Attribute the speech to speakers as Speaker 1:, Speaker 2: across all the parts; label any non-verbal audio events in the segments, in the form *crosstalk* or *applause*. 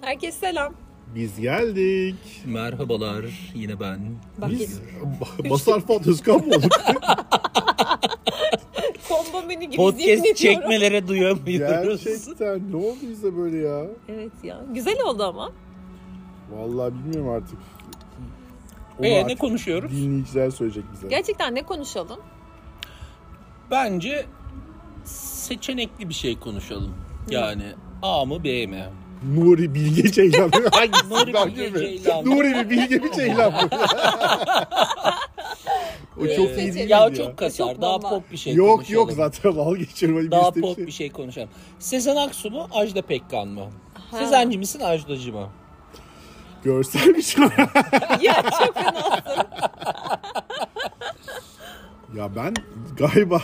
Speaker 1: Herkese selam.
Speaker 2: Biz geldik.
Speaker 3: Merhabalar yine ben.
Speaker 1: Bak
Speaker 2: Biz
Speaker 1: yine.
Speaker 2: Basar Fuat Özkan mı
Speaker 3: *laughs*
Speaker 2: olduk?
Speaker 1: Combo menü gibi
Speaker 3: Podcast
Speaker 1: zihnediyorum.
Speaker 3: çekmelere duyamıyoruz.
Speaker 2: Gerçekten ne oldu bize böyle ya?
Speaker 1: Evet ya. Güzel oldu ama.
Speaker 2: Vallahi bilmiyorum artık. Onu
Speaker 3: Ee, ne
Speaker 2: artık
Speaker 3: konuşuyoruz?
Speaker 2: Dinleyiciler söyleyecek bize.
Speaker 1: Gerçekten ne konuşalım? *laughs*
Speaker 3: Bence seçenekli bir şey konuşalım. Yani A mı B mi?
Speaker 2: Nuri Bilge Ceylan. Hangisi
Speaker 3: *laughs* Nuri
Speaker 2: ben
Speaker 3: Bilge
Speaker 2: bilmiyorum.
Speaker 3: Ceylan.
Speaker 2: Nuri mi Bilge mi Ceylan
Speaker 3: *laughs*
Speaker 2: mı? o
Speaker 1: Ee,
Speaker 2: çok iyi
Speaker 1: seçelim.
Speaker 2: değil
Speaker 3: ya
Speaker 2: ya.
Speaker 3: çok kasar.
Speaker 1: Çok
Speaker 3: daha
Speaker 1: bomba.
Speaker 3: pop bir şey
Speaker 2: yok
Speaker 3: konuşalım.
Speaker 2: yok zaten al geçiyorum.
Speaker 3: Daha pop bir şey konuşalım. Sezen Aksu mu Ajda Pekkan mı?
Speaker 1: Ha.
Speaker 3: Sezenci misin Ajdacı mı?
Speaker 2: Görsel bir şey. *laughs*
Speaker 1: ya çok fena.
Speaker 2: ya ben galiba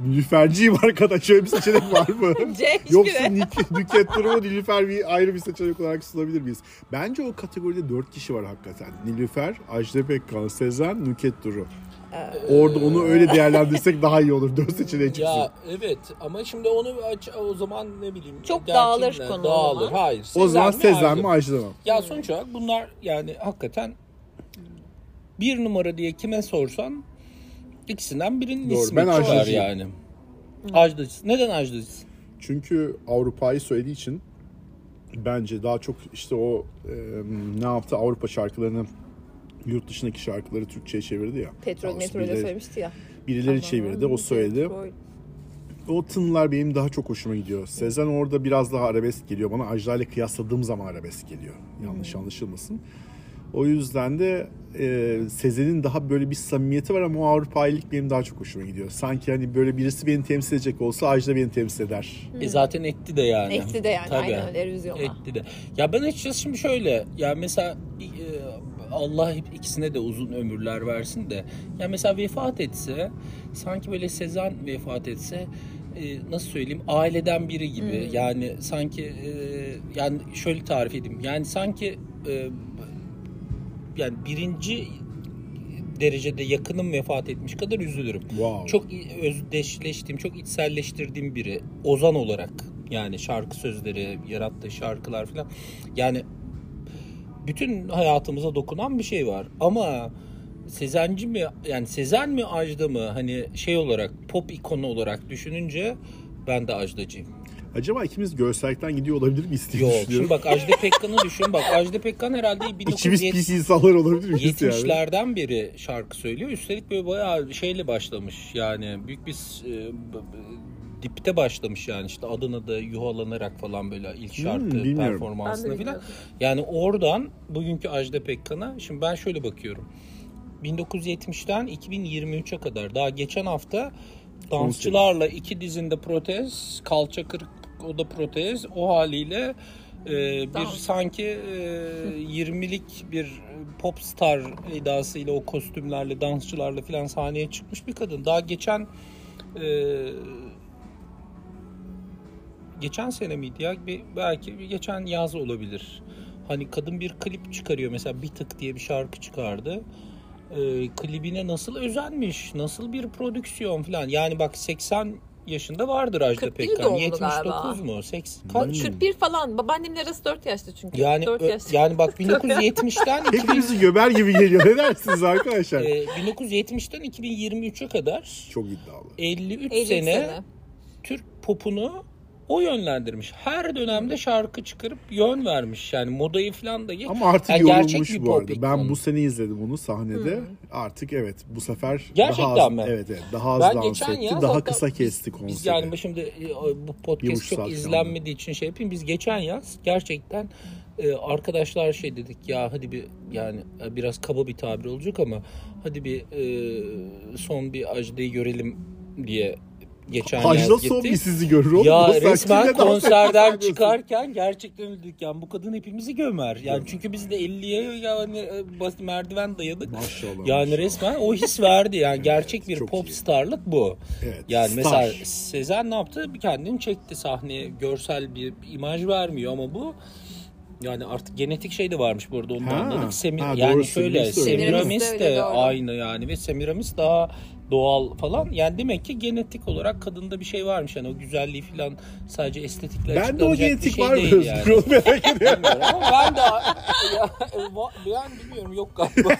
Speaker 2: Nilüfer'ciyim arkadaş. Şöyle bir seçenek var
Speaker 3: *laughs*
Speaker 2: mı?
Speaker 1: C
Speaker 2: Yoksa
Speaker 1: hiçbiri.
Speaker 2: Nik- Nükhet Durumu Nilüfer bir ayrı bir seçenek olarak sunabilir miyiz? Bence o kategoride dört kişi var hakikaten. Nilüfer, Ajda Pekkan, Sezen, Nükhet Duru. Orada onu öyle değerlendirsek daha iyi olur. Dört seçeneğe çıksın.
Speaker 3: Ya evet ama şimdi onu aç, o zaman ne bileyim.
Speaker 1: Çok
Speaker 3: dertçimle
Speaker 1: dağılır konu o
Speaker 3: Dağılır.
Speaker 1: zaman.
Speaker 3: Hayır.
Speaker 2: o zaman Sezen
Speaker 3: Ajda
Speaker 2: mi Ajda mı?
Speaker 1: Hmm.
Speaker 3: Ya sonuç olarak bunlar yani hakikaten bir numara diye kime sorsan ikisinden birinin
Speaker 2: Doğru,
Speaker 3: ismi
Speaker 2: ben
Speaker 3: çıkar
Speaker 2: Ajdacıyım.
Speaker 3: yani.
Speaker 1: Hmm.
Speaker 3: Ajdacısın. Neden ajdacısın?
Speaker 2: Çünkü Avrupa'yı söylediği için bence daha çok işte o e, ne yaptı Avrupa şarkılarını yurt dışındaki şarkıları Türkçe'ye çevirdi ya. Daha
Speaker 1: Petrol
Speaker 2: doğrusu
Speaker 1: metrolü
Speaker 2: birileri-
Speaker 1: söylemişti ya.
Speaker 2: Birileri çevirdi, şey o söyledi.
Speaker 1: Petrol.
Speaker 2: O tınlar benim daha çok hoşuma gidiyor. Sezen orada biraz daha arabesk geliyor bana. Ajda ile kıyasladığım zaman arabesk geliyor. Yanlış
Speaker 3: Hmm.
Speaker 2: anlaşılmasın. O yüzden de e, Sezen'in daha böyle bir samimiyeti var ama o Avrupa'yılık benim daha çok hoşuma gidiyor. Sanki hani böyle birisi beni temsil edecek olsa Ajda beni temsil eder.
Speaker 3: E zaten etti de yani.
Speaker 1: Hmm. Etti de yani, aynen öyle, erozyonla.
Speaker 3: Etti de. Ya ben açıkçası şimdi şöyle ya mesela e, Allah hep ikisine de uzun ömürler versin de ya mesela vefat etse sanki böyle Sezen vefat etse e, nasıl söyleyeyim aileden biri gibi yani sanki e, yani şöyle tarif edeyim yani sanki e, yani birinci derecede yakınım vefat etmiş kadar üzülürüm.
Speaker 2: Wow.
Speaker 3: Çok i- özdeşleştiğim, çok içselleştirdiğim biri. Ozan olarak yani şarkı sözleri, yarattığı şarkılar falan. Yani bütün hayatımıza dokunan bir şey var. Ama Sezenci mi yani Sezen mi Ajda mı hani şey olarak pop ikonu olarak düşününce ben de Ajdacıyım.
Speaker 2: Acaba ikimiz görsellikten gidiyor olabilir miyiz *laughs* diye
Speaker 3: Yok şimdi
Speaker 2: düşünüyorum.
Speaker 3: bak Ajda Pekkan'ı düşün bak Ajda Pekkan herhalde
Speaker 2: *laughs* İkimiz
Speaker 3: 1970
Speaker 2: pis insanlar olabilir miyiz yani?
Speaker 3: 70'lerden beri şarkı söylüyor. Üstelik böyle bayağı şeyle başlamış yani büyük bir s- e, b- b- dipte başlamış yani işte Adana'da yuhalanarak falan böyle ilk şarkı
Speaker 2: Hmm, bilmiyorum.
Speaker 1: Ben de
Speaker 3: performansına falan.
Speaker 1: bilmiyorum.
Speaker 3: Yani oradan bugünkü Ajda Pekkan'a şimdi ben şöyle bakıyorum. 1970'ten 2023'e kadar daha geçen hafta dansçılarla iki dizinde protez, kalça kırık o da protez. O haliyle e, bir
Speaker 1: Dans.
Speaker 3: sanki e, 20'lik bir pop star edasıyla o kostümlerle, dansçılarla falan sahneye çıkmış bir kadın. Daha geçen e, geçen sene miydi ya? Bir, belki bir geçen yaz olabilir. Hani kadın bir klip çıkarıyor mesela Bir Tık diye bir şarkı çıkardı. Ee, klibine nasıl özenmiş, nasıl bir prodüksiyon falan. Yani bak 80 yaşında vardır Ajda
Speaker 1: 41
Speaker 3: Pekkan.
Speaker 1: doğumlu
Speaker 3: 79
Speaker 1: galiba.
Speaker 3: mu? 80 kaç?
Speaker 1: 41 falan. Babaannemin arası 4 yaşta çünkü.
Speaker 3: Yani
Speaker 1: 4
Speaker 3: ö-
Speaker 1: yaşta. *laughs*
Speaker 3: yani bak 1970'ten
Speaker 2: Hepimizi göber gibi geliyor. Ne dersiniz arkadaşlar?
Speaker 3: e, 1970'ten 2023'e kadar
Speaker 2: Çok iddialı.
Speaker 3: 53
Speaker 1: 50 sene.
Speaker 3: sene Türk popunu o yönlendirmiş. Her dönemde şarkı çıkarıp yön vermiş. Yani modayı falan da geç.
Speaker 2: Ama artık
Speaker 3: Yani gerçek
Speaker 2: yorulmuş
Speaker 3: bir
Speaker 2: bu
Speaker 3: pop
Speaker 2: arada. Ben
Speaker 3: ikonu.
Speaker 2: bu sene izledim onu sahnede. Artık evet bu sefer
Speaker 3: Gerçekten
Speaker 2: daha az,
Speaker 3: mi?
Speaker 2: Evet evet daha az
Speaker 3: Ben
Speaker 2: dans
Speaker 3: geçen
Speaker 2: etti.
Speaker 3: yaz
Speaker 2: Daha
Speaker 3: hatta
Speaker 2: kısa kesti konseri.
Speaker 3: Biz yani şimdi e, bu
Speaker 2: Bir
Speaker 3: podcast
Speaker 2: buçuk saat
Speaker 3: çok
Speaker 2: falan.
Speaker 3: izlenmediği için şey yapayım. Biz geçen yaz gerçekten e, arkadaşlar şey dedik ya hadi bir yani e, biraz kaba bir tabir olacak ama hadi bir e, son bir Ajda'yı görelim diye geçen yaz
Speaker 2: Hacda
Speaker 3: gittik.
Speaker 2: son bir sizi görür oğlum. O
Speaker 3: Ya
Speaker 2: saçlı ne
Speaker 3: resmen
Speaker 2: dans
Speaker 3: konserden
Speaker 2: ediyorsun?
Speaker 3: çıkarken gerçekten öldük yani bu kadın hepimizi gömer. Yani çünkü biz de 50'ye yani e, bas- merdiven dayadık.
Speaker 2: Maşallah.
Speaker 3: Yani resmen o his verdi yani gerçek bir
Speaker 2: çok
Speaker 3: pop
Speaker 2: iyi.
Speaker 3: starlık bu.
Speaker 2: Evet,
Speaker 3: yani
Speaker 2: star.
Speaker 3: mesela Sezen ne yaptı? Bir kendini çekti sahneye. Görsel bir imaj vermiyor ama bu Yani artık genetik şey de varmış bu arada onu da
Speaker 2: Ha,
Speaker 3: anladık. Semir,
Speaker 2: ha,
Speaker 3: yani
Speaker 2: doğru,
Speaker 3: şöyle
Speaker 2: Semiramis de öyle.
Speaker 1: Semiramis de
Speaker 3: Semiramis
Speaker 1: öyle,
Speaker 3: de
Speaker 1: doğru.
Speaker 3: aynı yani ve Semiramis daha doğal falan. Yani demek ki genetik olarak kadında bir şey varmış yani o güzelliği falan sadece estetikle
Speaker 2: Ben de o
Speaker 3: açıklanacak bir
Speaker 2: genetik
Speaker 3: şey
Speaker 2: var mı
Speaker 3: değil
Speaker 2: Özgür? *laughs*
Speaker 3: yani.
Speaker 2: Onu merak ediyorum.
Speaker 3: Bilmiyorum ama ben de *laughs* ya, e, ben bilmiyorum yok galiba.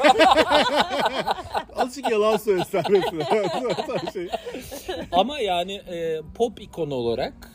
Speaker 2: Azıcık yalan söylesen *laughs* mesela. şey.
Speaker 3: ama yani e, pop ikonu olarak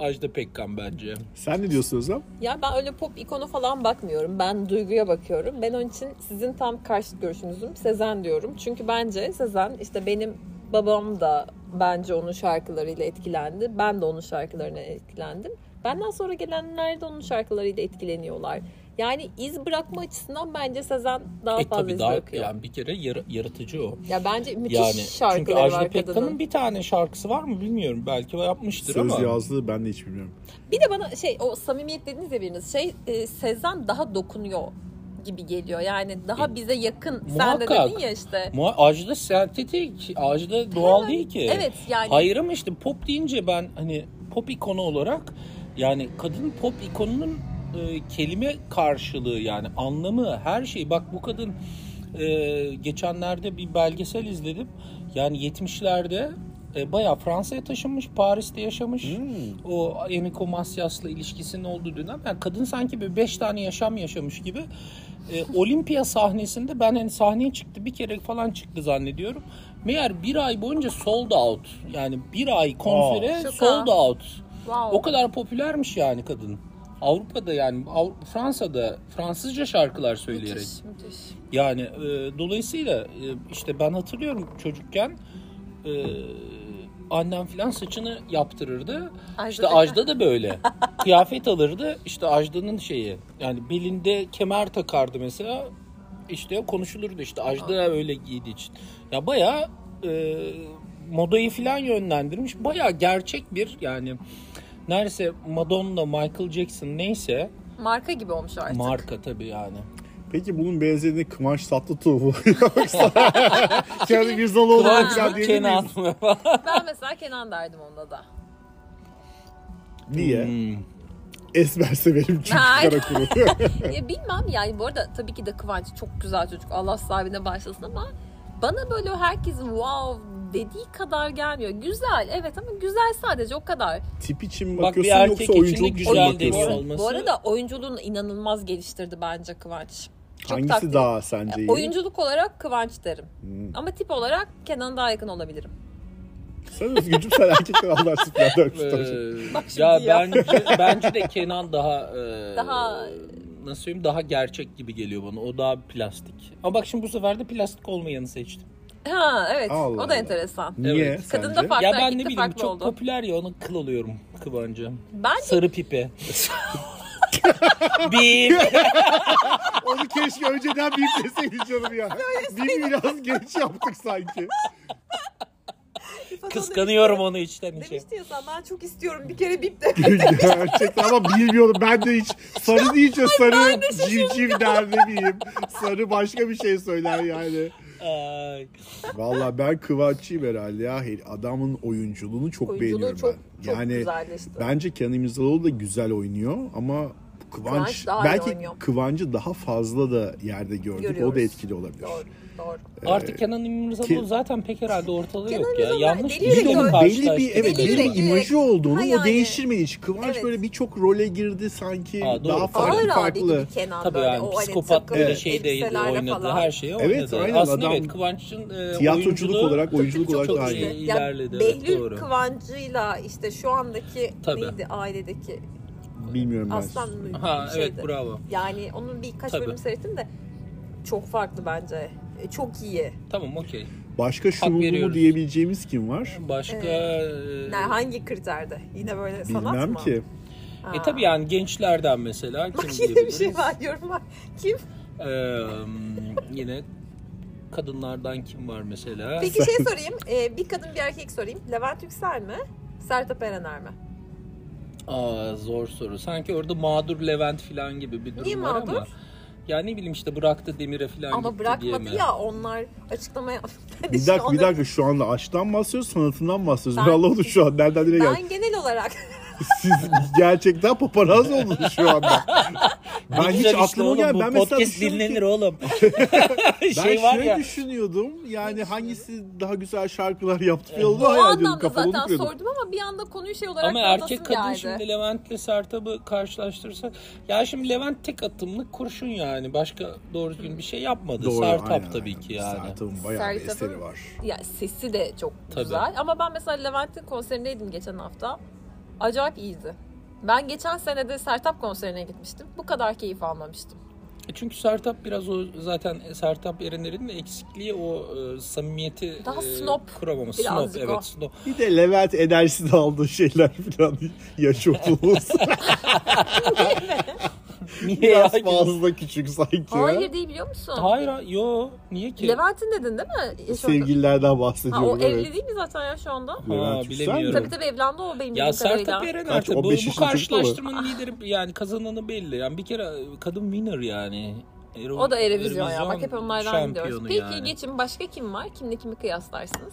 Speaker 3: Ajda Pekkan bence.
Speaker 2: Sen ne diyorsun Özlem?
Speaker 1: Ya ben öyle pop ikonu falan bakmıyorum. Ben duyguya bakıyorum. Ben onun için sizin tam karşıt görüşünüzüm. Sezen diyorum. Çünkü bence Sezen işte benim babam da bence onun şarkılarıyla etkilendi. Ben de onun şarkılarına etkilendim. Benden sonra gelenler de onun şarkılarıyla etkileniyorlar. Yani iz bırakma açısından bence Sezen daha
Speaker 3: e
Speaker 1: fazla
Speaker 3: tabii
Speaker 1: iz
Speaker 3: daha
Speaker 1: bırakıyor.
Speaker 3: yani bir kere yar- yaratıcı o.
Speaker 1: Ya bence müthiş
Speaker 3: Yani çünkü
Speaker 1: şarkıları
Speaker 3: Ajda
Speaker 1: var
Speaker 3: Pekkan'ın
Speaker 1: kadının.
Speaker 3: bir tane şarkısı var mı bilmiyorum. Belki yapmıştır
Speaker 2: Söz
Speaker 3: ama.
Speaker 2: yazdığı ben de hiç bilmiyorum.
Speaker 1: Bir de bana şey o samimiyet dediniz ya biriniz şey e, Sezen daha dokunuyor gibi geliyor. Yani daha bize yakın. Sen de
Speaker 3: E, muhakkak.
Speaker 1: dedin ya işte.
Speaker 3: Mu- Ajda sentetik, Ajda doğal değil ki.
Speaker 1: Evet yani.
Speaker 3: E, Hayır ama işte pop deyince ben hani pop ikonu olarak yani kadın pop ikonunun e, kelime karşılığı yani anlamı her şey. Bak bu kadın e, geçenlerde bir belgesel izledim. Yani 70'lerde e, bayağı Fransa'ya taşınmış, Paris'te yaşamış. O Enrico Macias'la ilişkisinin olduğu dönem. Yani kadın sanki bir beş tane yaşam yaşamış gibi. E, Olimpiya sahnesinde ben hani sahneye çıktı bir kere falan çıktı zannediyorum. Meğer bir ay boyunca sold out. Yani bir ay konsere
Speaker 1: Şaka.
Speaker 3: sold out.
Speaker 1: Wow.
Speaker 3: O kadar popülermiş yani kadın. Avrupa'da yani Avru- Fransa'da Fransızca şarkılar söyleyerek.
Speaker 1: Müthiş, müthiş.
Speaker 3: Yani e, dolayısıyla e, işte ben hatırlıyorum çocukken e, annem filan saçını yaptırırdı.
Speaker 1: Ajda
Speaker 3: işte
Speaker 1: Pekkan.
Speaker 3: Ajda da böyle.
Speaker 1: *laughs*
Speaker 3: Kıyafet alırdı. İşte Ajda'nın şeyi. Yani belinde kemer takardı mesela. İşte konuşulurdu işte Ajda öyle giydiği için. Ya bayağı e, modayı filan yönlendirmiş. Bayağı gerçek bir yani neredeyse Madonna, Michael Jackson neyse
Speaker 1: Marka gibi olmuş artık.
Speaker 3: marka tabii yani.
Speaker 2: Peki bunun benzerini Kıvanç Tatlıtuğ *laughs* yoksa
Speaker 3: *laughs*
Speaker 2: Kendi Mirzalıoğlu
Speaker 1: Kıvanç
Speaker 2: falan diyebilir
Speaker 3: Kenan
Speaker 2: miyiz?
Speaker 3: mı?
Speaker 1: *laughs* ben mesela Kenan derdim onda da.
Speaker 2: Niye?
Speaker 1: *laughs*
Speaker 2: Esmer severim çünkü
Speaker 1: Hayır. *laughs*
Speaker 2: karakuru.
Speaker 1: ya E, bilmem yani bu arada tabii ki de Kıvanç çok güzel çocuk. Allah sahibine başlasın ama bana böyle herkesin wow dediği kadar gelmiyor. Güzel evet ama güzel sadece o kadar.
Speaker 2: Tip için mi
Speaker 3: Bak bir
Speaker 2: bakıyorsun
Speaker 3: erkek
Speaker 2: yoksa
Speaker 3: için de
Speaker 2: oyunculuk için mi
Speaker 3: güzel
Speaker 2: bakıyorsun?
Speaker 3: deniyor. olması-
Speaker 1: Bu arada oyunculuğunu inanılmaz geliştirdi bence Kıvanç. Çok
Speaker 2: Hangisi
Speaker 1: takdir-
Speaker 2: daha sence iyi?
Speaker 1: Oyunculuk olarak Kıvanç derim.
Speaker 2: Hmm.
Speaker 1: Ama tip olarak Kenan'a daha yakın olabilirim.
Speaker 2: Sen Özgürcüm sen erkekten anlarsın. Ben de
Speaker 3: Ee,
Speaker 2: öpüştüm.
Speaker 1: şimdi
Speaker 3: ya,
Speaker 1: ya.
Speaker 3: bence bence de Kenan daha e,
Speaker 1: Daha-
Speaker 3: nasıl söyleyeyim daha gerçek gibi geliyor bana. O daha plastik. Ama bak şimdi bu sefer de plastik olmayanı seçtim.
Speaker 1: Ha evet.
Speaker 2: Allah
Speaker 1: o da
Speaker 2: Allah.
Speaker 1: enteresan.
Speaker 2: Niye
Speaker 3: Evet.
Speaker 2: sence?
Speaker 1: Kadın da farklı,
Speaker 3: ya ben
Speaker 1: erkek de
Speaker 3: ne bileyim
Speaker 1: farklı
Speaker 3: çok
Speaker 1: oldu.
Speaker 3: popüler ya ona kıl oluyorum Kıvancı.
Speaker 1: Bence
Speaker 3: Sarı
Speaker 1: *laughs*
Speaker 3: pipe. Bip.
Speaker 2: Onu keşke önceden bir deseydin canım ya. Bir biraz geç yaptık sanki.
Speaker 1: İfade
Speaker 3: Kıskanıyorum
Speaker 1: demişti-
Speaker 3: onu içten içe.
Speaker 1: Demişti ya sen ben çok istiyorum bir kere bip de.
Speaker 2: Gerçekten ama bilmiyorum ben de hiç sarı deyince sarı
Speaker 1: ben de şaşırdım.
Speaker 2: civciv der ne bileyim. Sarı başka bir şey söyler yani.
Speaker 3: Ay.
Speaker 2: Valla ben Kıvanç'ıyım herhalde ya. Her- Adamın oyunculuğunu çok
Speaker 1: Oyunculuğu
Speaker 2: beğeniyorum
Speaker 1: çok,
Speaker 2: ben.
Speaker 1: çok
Speaker 2: yani
Speaker 1: güzelleşti.
Speaker 2: bence Kenan İmirzalıoğlu da güzel oynuyor ama Kıvanç,
Speaker 1: Kıvanç daha iyi
Speaker 2: belki
Speaker 1: oynuyor.
Speaker 2: Kıvanç'ı daha fazla da yerde gördük. O da
Speaker 1: Görüyoruz.
Speaker 2: etkili olabilir.
Speaker 1: Doğru, doğru.
Speaker 3: Artık Kenan İmirzalıoğlu
Speaker 2: ki-
Speaker 3: zaten pek herhalde ortalığı
Speaker 1: Kenan
Speaker 3: yok ya.
Speaker 1: İmirzalıoğlu
Speaker 3: Yanlış
Speaker 1: delirerek
Speaker 3: biriyle mi
Speaker 1: öyle-
Speaker 2: belli bir evet
Speaker 1: Delirerek
Speaker 2: belli bir
Speaker 1: direkt.
Speaker 2: imajı olduğunu
Speaker 1: Ha
Speaker 2: o
Speaker 1: yani.
Speaker 2: değiştirmedi hiç. Kıvanç
Speaker 1: Evet.
Speaker 2: böyle birçok role girdi sanki
Speaker 3: Ha, doğru.
Speaker 2: daha farklı
Speaker 1: Ağır abi
Speaker 2: farklı.
Speaker 1: gibi Kenan
Speaker 3: Tabii
Speaker 1: böyle
Speaker 3: yani
Speaker 1: o hani
Speaker 3: psikopat
Speaker 1: takım
Speaker 3: böyle
Speaker 2: Evet.
Speaker 3: şeyde
Speaker 1: elbiselerle
Speaker 3: oynadı
Speaker 1: falan.
Speaker 3: her şey şeyi oynadı.
Speaker 2: Evet, aynen,
Speaker 3: Aslında
Speaker 2: adam
Speaker 3: evet Kıvanç'ın e,
Speaker 2: Tiyatroculuk
Speaker 3: oyunculuğu-
Speaker 2: olarak oyunculuk olarak
Speaker 3: çok
Speaker 2: da
Speaker 3: iyi.
Speaker 2: aynı.
Speaker 1: Ya
Speaker 3: ilerledi, evet,
Speaker 1: Behlül
Speaker 3: doğru.
Speaker 1: Kıvancı'yla işte şu andaki
Speaker 3: Tabii.
Speaker 1: neydi ailedeki
Speaker 2: Bilmiyorum ben.
Speaker 1: şey. aslan mı?
Speaker 3: Ha
Speaker 1: bir
Speaker 3: evet
Speaker 1: şeydi.
Speaker 3: bravo.
Speaker 1: Yani onun birkaç
Speaker 3: Tabii.
Speaker 1: bölümünü seyrettim de çok farklı bence. E, Çok iyi.
Speaker 3: Tamam okey.
Speaker 2: Başka şunu mu
Speaker 3: veriyoruz.
Speaker 2: diyebileceğimiz kim var?
Speaker 3: Başka e,
Speaker 1: Ne, hangi kriterde? Yine böyle sanat
Speaker 2: Bilmem
Speaker 1: mı?
Speaker 2: ki.
Speaker 1: Ha.
Speaker 3: e tabii yani gençlerden mesela kim
Speaker 1: Bak yine bir
Speaker 3: diyebiliriz?
Speaker 1: şey var yorum var. Kim?
Speaker 3: Ee, yine kadınlardan kim var mesela?
Speaker 1: Peki şey sorayım. e, bir kadın bir erkek sorayım. Levent Yüksel mi? Sertab Erener mi?
Speaker 3: Aa zor soru. Sanki orada mağdur Levent falan gibi bir durum
Speaker 1: Niye
Speaker 3: var
Speaker 1: mağdur?
Speaker 3: ama. Ya ne bileyim işte bıraktı Demir'e falan
Speaker 1: Ama
Speaker 3: gitti diye
Speaker 1: bırakmadı
Speaker 3: mi?
Speaker 1: ya onlar açıklamaya... *laughs* Ben de
Speaker 2: Bir
Speaker 1: şimdi
Speaker 2: dakika bir
Speaker 1: onları-
Speaker 2: dakika şu anda aşktan bahsediyoruz sanatından bahsediyoruz.
Speaker 1: Ben-
Speaker 2: Ben... oldu şu an nereden nereye geldik?
Speaker 1: Ben genel olarak
Speaker 3: *laughs*
Speaker 2: Siz gerçekten paparaz oldunuz şu anda. Ben hiç
Speaker 3: Hani güzel
Speaker 2: aklıma
Speaker 3: oğlum,
Speaker 2: gel-
Speaker 3: Bu
Speaker 2: ben mesela
Speaker 3: podcast
Speaker 2: düşünüyorum ki- *laughs*
Speaker 3: dinlenir oğlum. *laughs*
Speaker 2: Ben
Speaker 3: şey var
Speaker 2: şöyle
Speaker 3: ya.
Speaker 2: düşünüyordum. Yani hangisi daha güzel şarkılar yaptı falan
Speaker 1: *laughs*
Speaker 2: onu
Speaker 1: O
Speaker 2: hayal ediyordum.
Speaker 1: anlamda
Speaker 2: Kafamı
Speaker 1: zaten
Speaker 2: kuruyordum.
Speaker 1: sordum ama bir anda konuyu şey olarak
Speaker 3: Ama
Speaker 1: bağlasım
Speaker 3: erkek kadın
Speaker 1: geldi.
Speaker 3: şimdi Levent'le Sertab'ı karşılaştırırsak ya şimdi Levent tek atımlık kurşun yani. Başka doğru düzgün bir şey yapmadı. Sertab
Speaker 2: aynen,
Speaker 3: tabii
Speaker 2: aynen.
Speaker 3: ki yani.
Speaker 2: Sertab'ın bayağı bir
Speaker 1: Sertab'ın-
Speaker 2: eseri var.
Speaker 1: Ya sesi de çok
Speaker 3: Tabii.
Speaker 1: güzel. Ama ben mesela Levent'in konserindeydim geçen hafta. Acayip iyiydi. Ben geçen sene de Sertap konserine gitmiştim. Bu kadar keyif almamıştım.
Speaker 3: *laughs* E Çünkü Sertap biraz o zaten Sertap Erener'in de eksikliği o e, samimiyeti
Speaker 1: Daha
Speaker 3: e,
Speaker 1: snob.
Speaker 3: kuramaması.
Speaker 1: Birazcık
Speaker 3: snob,
Speaker 1: o.
Speaker 3: evet snob.
Speaker 2: Bir de Levent enerjisi aldığı şeyler *laughs* falan yaş otuz.
Speaker 3: *laughs* Niye ya?
Speaker 2: Biraz fazla küçük sanki.
Speaker 1: Hayır değil biliyor musun?
Speaker 3: Hayır ha- yo niye ki?
Speaker 1: Levent'in dedin değil mi? Ya şu anda-
Speaker 2: Sevgililerden
Speaker 1: Ha, o
Speaker 2: bahsediyorum. evet.
Speaker 1: evli değil mi zaten ya şu anda?
Speaker 3: Ha,
Speaker 2: Levent Yüksel mi?
Speaker 3: bilemiyorum.
Speaker 1: Tabii tabii evlendi o benim
Speaker 3: Ya
Speaker 1: bildiğim kadarıyla.
Speaker 3: Sertab Erener
Speaker 2: Kaç,
Speaker 3: tabii bu,
Speaker 2: 15
Speaker 3: bu
Speaker 2: yaşında çocuk mu var?
Speaker 3: karşılaştırmanın lideri yani kazananı belli. Yani bir kere e, kadın winner yani. Ero-
Speaker 1: O da Erevizyon ya. Bak hep onlardan
Speaker 3: şampiyonu
Speaker 1: gidiyoruz. Peki
Speaker 3: yani.
Speaker 1: geçin başka kim var? Kimle kimi kıyaslarsınız?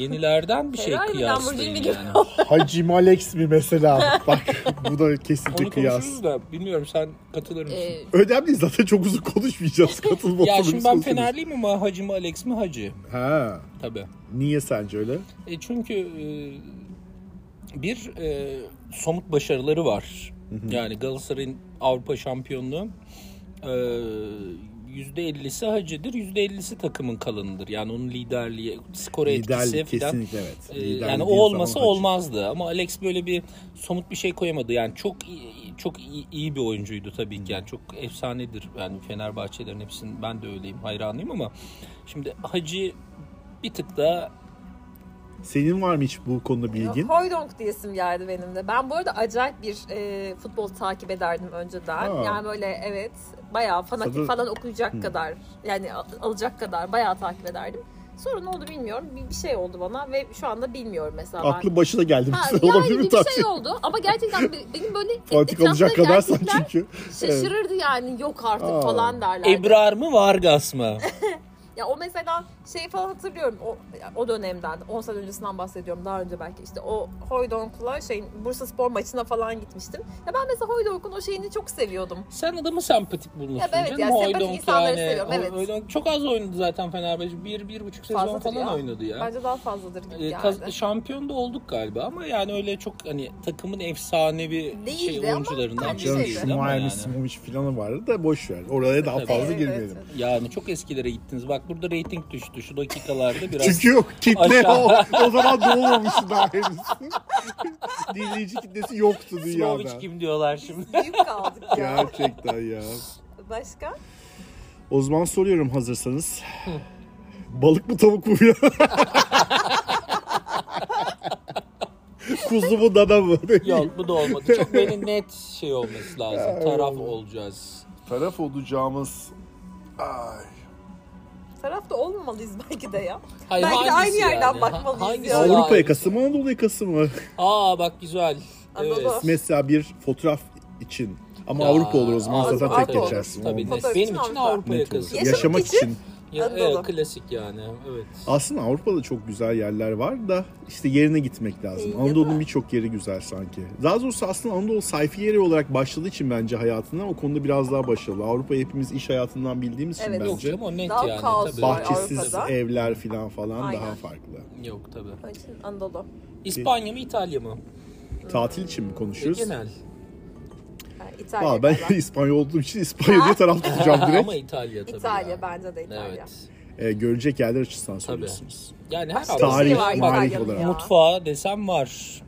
Speaker 1: *laughs*
Speaker 3: yenilerden bir şey
Speaker 1: Ferrari,
Speaker 3: kıyaslayın
Speaker 1: Lamborghini gibi
Speaker 3: yani.
Speaker 2: Hacim Alex mi
Speaker 1: *laughs*
Speaker 2: mesela? Bak bu da kesinlikle
Speaker 3: Onu
Speaker 2: kıyas.
Speaker 3: konuşuruz da bilmiyorum sen katılır mısın?
Speaker 1: Ee,
Speaker 2: Önemli değil, zaten çok uzun konuşmayacağız. Katılma
Speaker 3: *laughs* ya
Speaker 2: oturumu
Speaker 3: şimdi ben
Speaker 2: konuşuruz.
Speaker 3: Fenerliyim ama Hacı mı Alex mi Hacı?
Speaker 2: Ha.
Speaker 3: Tabii.
Speaker 2: Niye sence öyle?
Speaker 3: E çünkü e, bir e, somut başarıları var. Yani Galatasaray'ın Avrupa şampiyonluğu e, %50'si Hacı'dır, %50'si takımın kalanıdır. Yani onun liderliği, skora
Speaker 2: Liderlik
Speaker 3: etkisi falan.
Speaker 2: kesinlikle evet.
Speaker 3: E,
Speaker 2: Liderlik
Speaker 3: yani o
Speaker 2: değil,
Speaker 3: olmasa
Speaker 2: tamam, Hacı.
Speaker 3: olmazdı ama Alex böyle bir somut bir şey koyamadı. Yani çok iyi, çok iyi, iyi bir oyuncuydu tabii ki. Yani çok efsanedir. Yani Fenerbahçelerin hepsinin ben de öyleyim, hayranıyım ama şimdi Hacı bir tık daha
Speaker 2: Senin var mı hiç bu konuda bilgin?
Speaker 1: Hoydonk diyesim geldi benim de. Ben bu arada acayip bir e, futbol takip ederdim önceden.
Speaker 2: Aa.
Speaker 1: Yani böyle evet bayağı fanatik
Speaker 2: Tabii.
Speaker 1: falan okuyacak kadar yani al- alacak kadar bayağı takip ederdim. Sonra ne oldu bilmiyorum. Bir, bir şey oldu bana ve şu anda bilmiyorum mesela ben.
Speaker 2: Aklı başına geldi. *laughs*
Speaker 1: Ha,
Speaker 2: Bu sefer
Speaker 1: yani
Speaker 2: olabilir mi
Speaker 1: bir
Speaker 2: tavsiye?
Speaker 1: şey oldu ama gerçekten be- benim böyle
Speaker 2: *laughs* Fatih
Speaker 1: etrafta
Speaker 2: alacak kadar sen
Speaker 1: erkekler
Speaker 2: çünkü. Evet.
Speaker 1: şaşırırdı yani yok artık
Speaker 2: Aa.
Speaker 1: falan derlerdi.
Speaker 3: Ebrar mı Vargas mı?
Speaker 1: Ya o mesela şey falan hatırlıyorum o, o dönemden 10 sene öncesinden bahsediyorum daha önce belki işte o Hoydonk'la şeyin Bursa Spor maçına falan gitmiştim. Ya ben mesela Hoydonk'un o şeyini çok seviyordum.
Speaker 3: *laughs* Sen adamı sempatik bulmuşsun
Speaker 1: Ya evet,
Speaker 3: canım.
Speaker 1: yani sempatik
Speaker 3: Hoydonk
Speaker 1: insanları seviyorum,
Speaker 3: O-
Speaker 1: evet.
Speaker 3: Hoydonk çok az oynadı zaten Fenerbahçe. Bir, bir buçuk sezon
Speaker 1: Fazladır
Speaker 3: falan
Speaker 1: ya.
Speaker 3: oynadı ya.
Speaker 1: Bence daha fazladır gibi
Speaker 3: Ee,
Speaker 1: geldi.
Speaker 3: kaz- şampiyon da olduk galiba ama yani öyle çok hani takımın efsanevi
Speaker 1: Değildi
Speaker 3: şey
Speaker 1: ama
Speaker 3: oyuncularından
Speaker 1: yani
Speaker 3: biri
Speaker 2: Canım
Speaker 1: Şey
Speaker 3: değildi
Speaker 2: şu
Speaker 3: ama
Speaker 2: Miami
Speaker 3: yani.
Speaker 2: Simovic filanı vardı da boş ver. Oraya daha
Speaker 3: Tabii.
Speaker 2: fazla
Speaker 1: Evet,
Speaker 2: girmeyelim.
Speaker 1: evet.
Speaker 3: Yani çok eskilere gittiniz. Bak burada reyting düştü
Speaker 2: *laughs*
Speaker 3: şu dakikalarda biraz.
Speaker 2: Çünkü yok kitle
Speaker 3: Aşağı.
Speaker 2: o, o zaman doğmamıştı daha henüz. *laughs* Dinleyici kitlesi yoktu dünyada.
Speaker 3: Simovic kim diyorlar şimdi. *laughs*
Speaker 1: Büyük kaldık ya.
Speaker 2: Gerçekten *laughs* ya.
Speaker 1: Başka?
Speaker 2: O zaman soruyorum hazırsanız. Balık mı tavuk mu ya? *laughs* Kuzu mu dana mı? *laughs*
Speaker 3: Yok bu da olmadı. Çok böyle net şey
Speaker 2: *laughs*
Speaker 3: olması lazım. Taraf olacağız.
Speaker 2: Taraf olacağımız... Ay.
Speaker 1: Tarafta olmamalıyız *laughs* belki de ya.
Speaker 3: Hayır,
Speaker 1: Belki de
Speaker 3: hangisi
Speaker 1: aynı yerden
Speaker 3: yani?
Speaker 1: bakmalıyız
Speaker 3: Hangisi
Speaker 1: ya.
Speaker 2: Avrupa
Speaker 3: daha-
Speaker 2: yakası mı Anadolu yakası mı?
Speaker 3: Aa bak güzel.
Speaker 1: Anadolu.
Speaker 3: Evet.
Speaker 2: Mesela bir fotoğraf için. Ama
Speaker 3: Ya,
Speaker 2: Avrupa olur o zaman
Speaker 1: Avrupa-
Speaker 2: zaten tek
Speaker 1: Avrupa olur.
Speaker 2: geçersin.
Speaker 3: Tabii
Speaker 2: Olmaz.
Speaker 3: net.
Speaker 1: Fotoğraf
Speaker 3: Benim
Speaker 1: için
Speaker 3: için
Speaker 1: Avrupa.
Speaker 3: Avrupa
Speaker 2: Net olur.
Speaker 3: yakası.
Speaker 1: Yaşamak
Speaker 2: Yaşamak
Speaker 1: için.
Speaker 2: için.
Speaker 3: Ya,
Speaker 1: Anadolu.
Speaker 3: evet, klasik yani. Evet.
Speaker 2: Aslında Avrupa'da çok güzel yerler var da işte yerine gitmek lazım.
Speaker 1: İyi, değil
Speaker 2: Anadolu'nun
Speaker 1: mi?
Speaker 2: birçok yeri güzel sanki. Daha doğrusu aslında Anadolu sayfi yeri olarak başladığı için bence hayatına o konuda biraz daha başarılı. Avrupa hepimiz iş hayatından bildiğimiz için
Speaker 1: Evet.
Speaker 3: Yok
Speaker 2: bence
Speaker 3: canım o net
Speaker 1: Daha
Speaker 3: yani.
Speaker 1: kaos
Speaker 3: Tabii.
Speaker 1: var
Speaker 2: bahçesiz
Speaker 1: Avrupa'da.
Speaker 2: evler falan falan
Speaker 1: Aynen.
Speaker 2: daha farklı.
Speaker 3: Yok tabii.
Speaker 1: Onun için Anadolu.
Speaker 3: İspanya mı İtalya mı?
Speaker 2: Tatil için mi
Speaker 3: E,
Speaker 2: konuşuyoruz?
Speaker 3: genel.
Speaker 1: Yani İtalya
Speaker 2: Aa, ben
Speaker 1: galiba.
Speaker 2: İspanyol olduğum için *laughs* İspanya diye taraf tutacağım direkt.
Speaker 3: *laughs* Ama İtalya tabii.
Speaker 1: İtalya
Speaker 3: yani.
Speaker 1: bence de İtalya.
Speaker 3: Evet.
Speaker 2: Ee, görecek yerler açısından söylüyorsunuz.
Speaker 3: Yani her
Speaker 1: Başka bir
Speaker 2: Tarih,
Speaker 1: şey
Speaker 3: anlamda-
Speaker 1: var
Speaker 3: Bak,
Speaker 2: marif
Speaker 1: İtalya'nın
Speaker 2: olarak.
Speaker 1: ya.
Speaker 3: mutfağı desem var.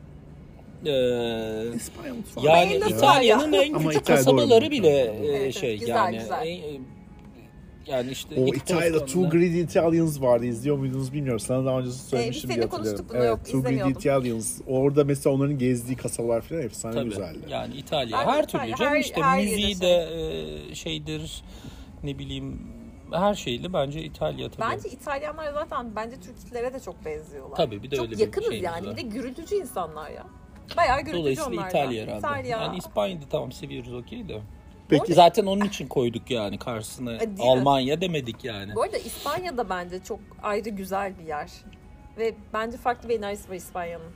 Speaker 3: Ee,
Speaker 2: İspanya mutfağı.
Speaker 3: Yani
Speaker 1: Benim de
Speaker 3: İtalya'nın en
Speaker 2: Ama
Speaker 3: küçük
Speaker 2: İtalya
Speaker 3: kasabaları
Speaker 2: doğru.
Speaker 3: bile e,
Speaker 1: Evet,
Speaker 3: şey
Speaker 1: güzel,
Speaker 3: yani
Speaker 1: güzel.
Speaker 3: en- e, yani işte
Speaker 2: O
Speaker 3: iki
Speaker 2: İtalya'da
Speaker 3: taraftan
Speaker 2: Two
Speaker 3: da-
Speaker 2: Greedy Italians vardı. İzliyor muydunuz bilmiyorum. Sana daha önce söylemiştim
Speaker 1: biz
Speaker 2: diye
Speaker 1: seninle
Speaker 2: hatırlıyorum.
Speaker 1: konuştuk bunu, yok,
Speaker 2: Two Greedy
Speaker 1: izlemiyordum.
Speaker 2: Italians. Orada mesela onların gezdiği kasabalar falan efsane
Speaker 3: Tabii.
Speaker 2: güzeldi.
Speaker 3: Yani İtalya
Speaker 1: Ben
Speaker 3: her
Speaker 1: İtalya,
Speaker 3: türlü canım
Speaker 1: her-
Speaker 3: işte
Speaker 1: her yeri
Speaker 3: müziği de e, şeydir ne bileyim her şeyle bence İtalya tabii.
Speaker 1: Bence İtalyanlar zaten bence Türklere de çok benziyorlar.
Speaker 3: Tabii, bir de
Speaker 1: çok
Speaker 3: öyle bir
Speaker 1: yakınız
Speaker 3: şeyimiz
Speaker 1: yani. Bir
Speaker 3: var.
Speaker 1: de gürültücü insanlar ya. Bayağı gürültücü onlar
Speaker 3: Dolayısıyla
Speaker 1: da.
Speaker 3: İtalya herhalde.
Speaker 1: İtalya.
Speaker 3: Yani İspanya'da tamam seviyoruz okey de.
Speaker 2: Peki
Speaker 3: Zaten onun için koyduk yani karşısına
Speaker 1: E, değil mi?
Speaker 3: Almanya demedik yani.
Speaker 1: Bu arada İspanya da bence çok ayrı güzel bir yer. Ve bence farklı bir enerjisi var İspanya'nın.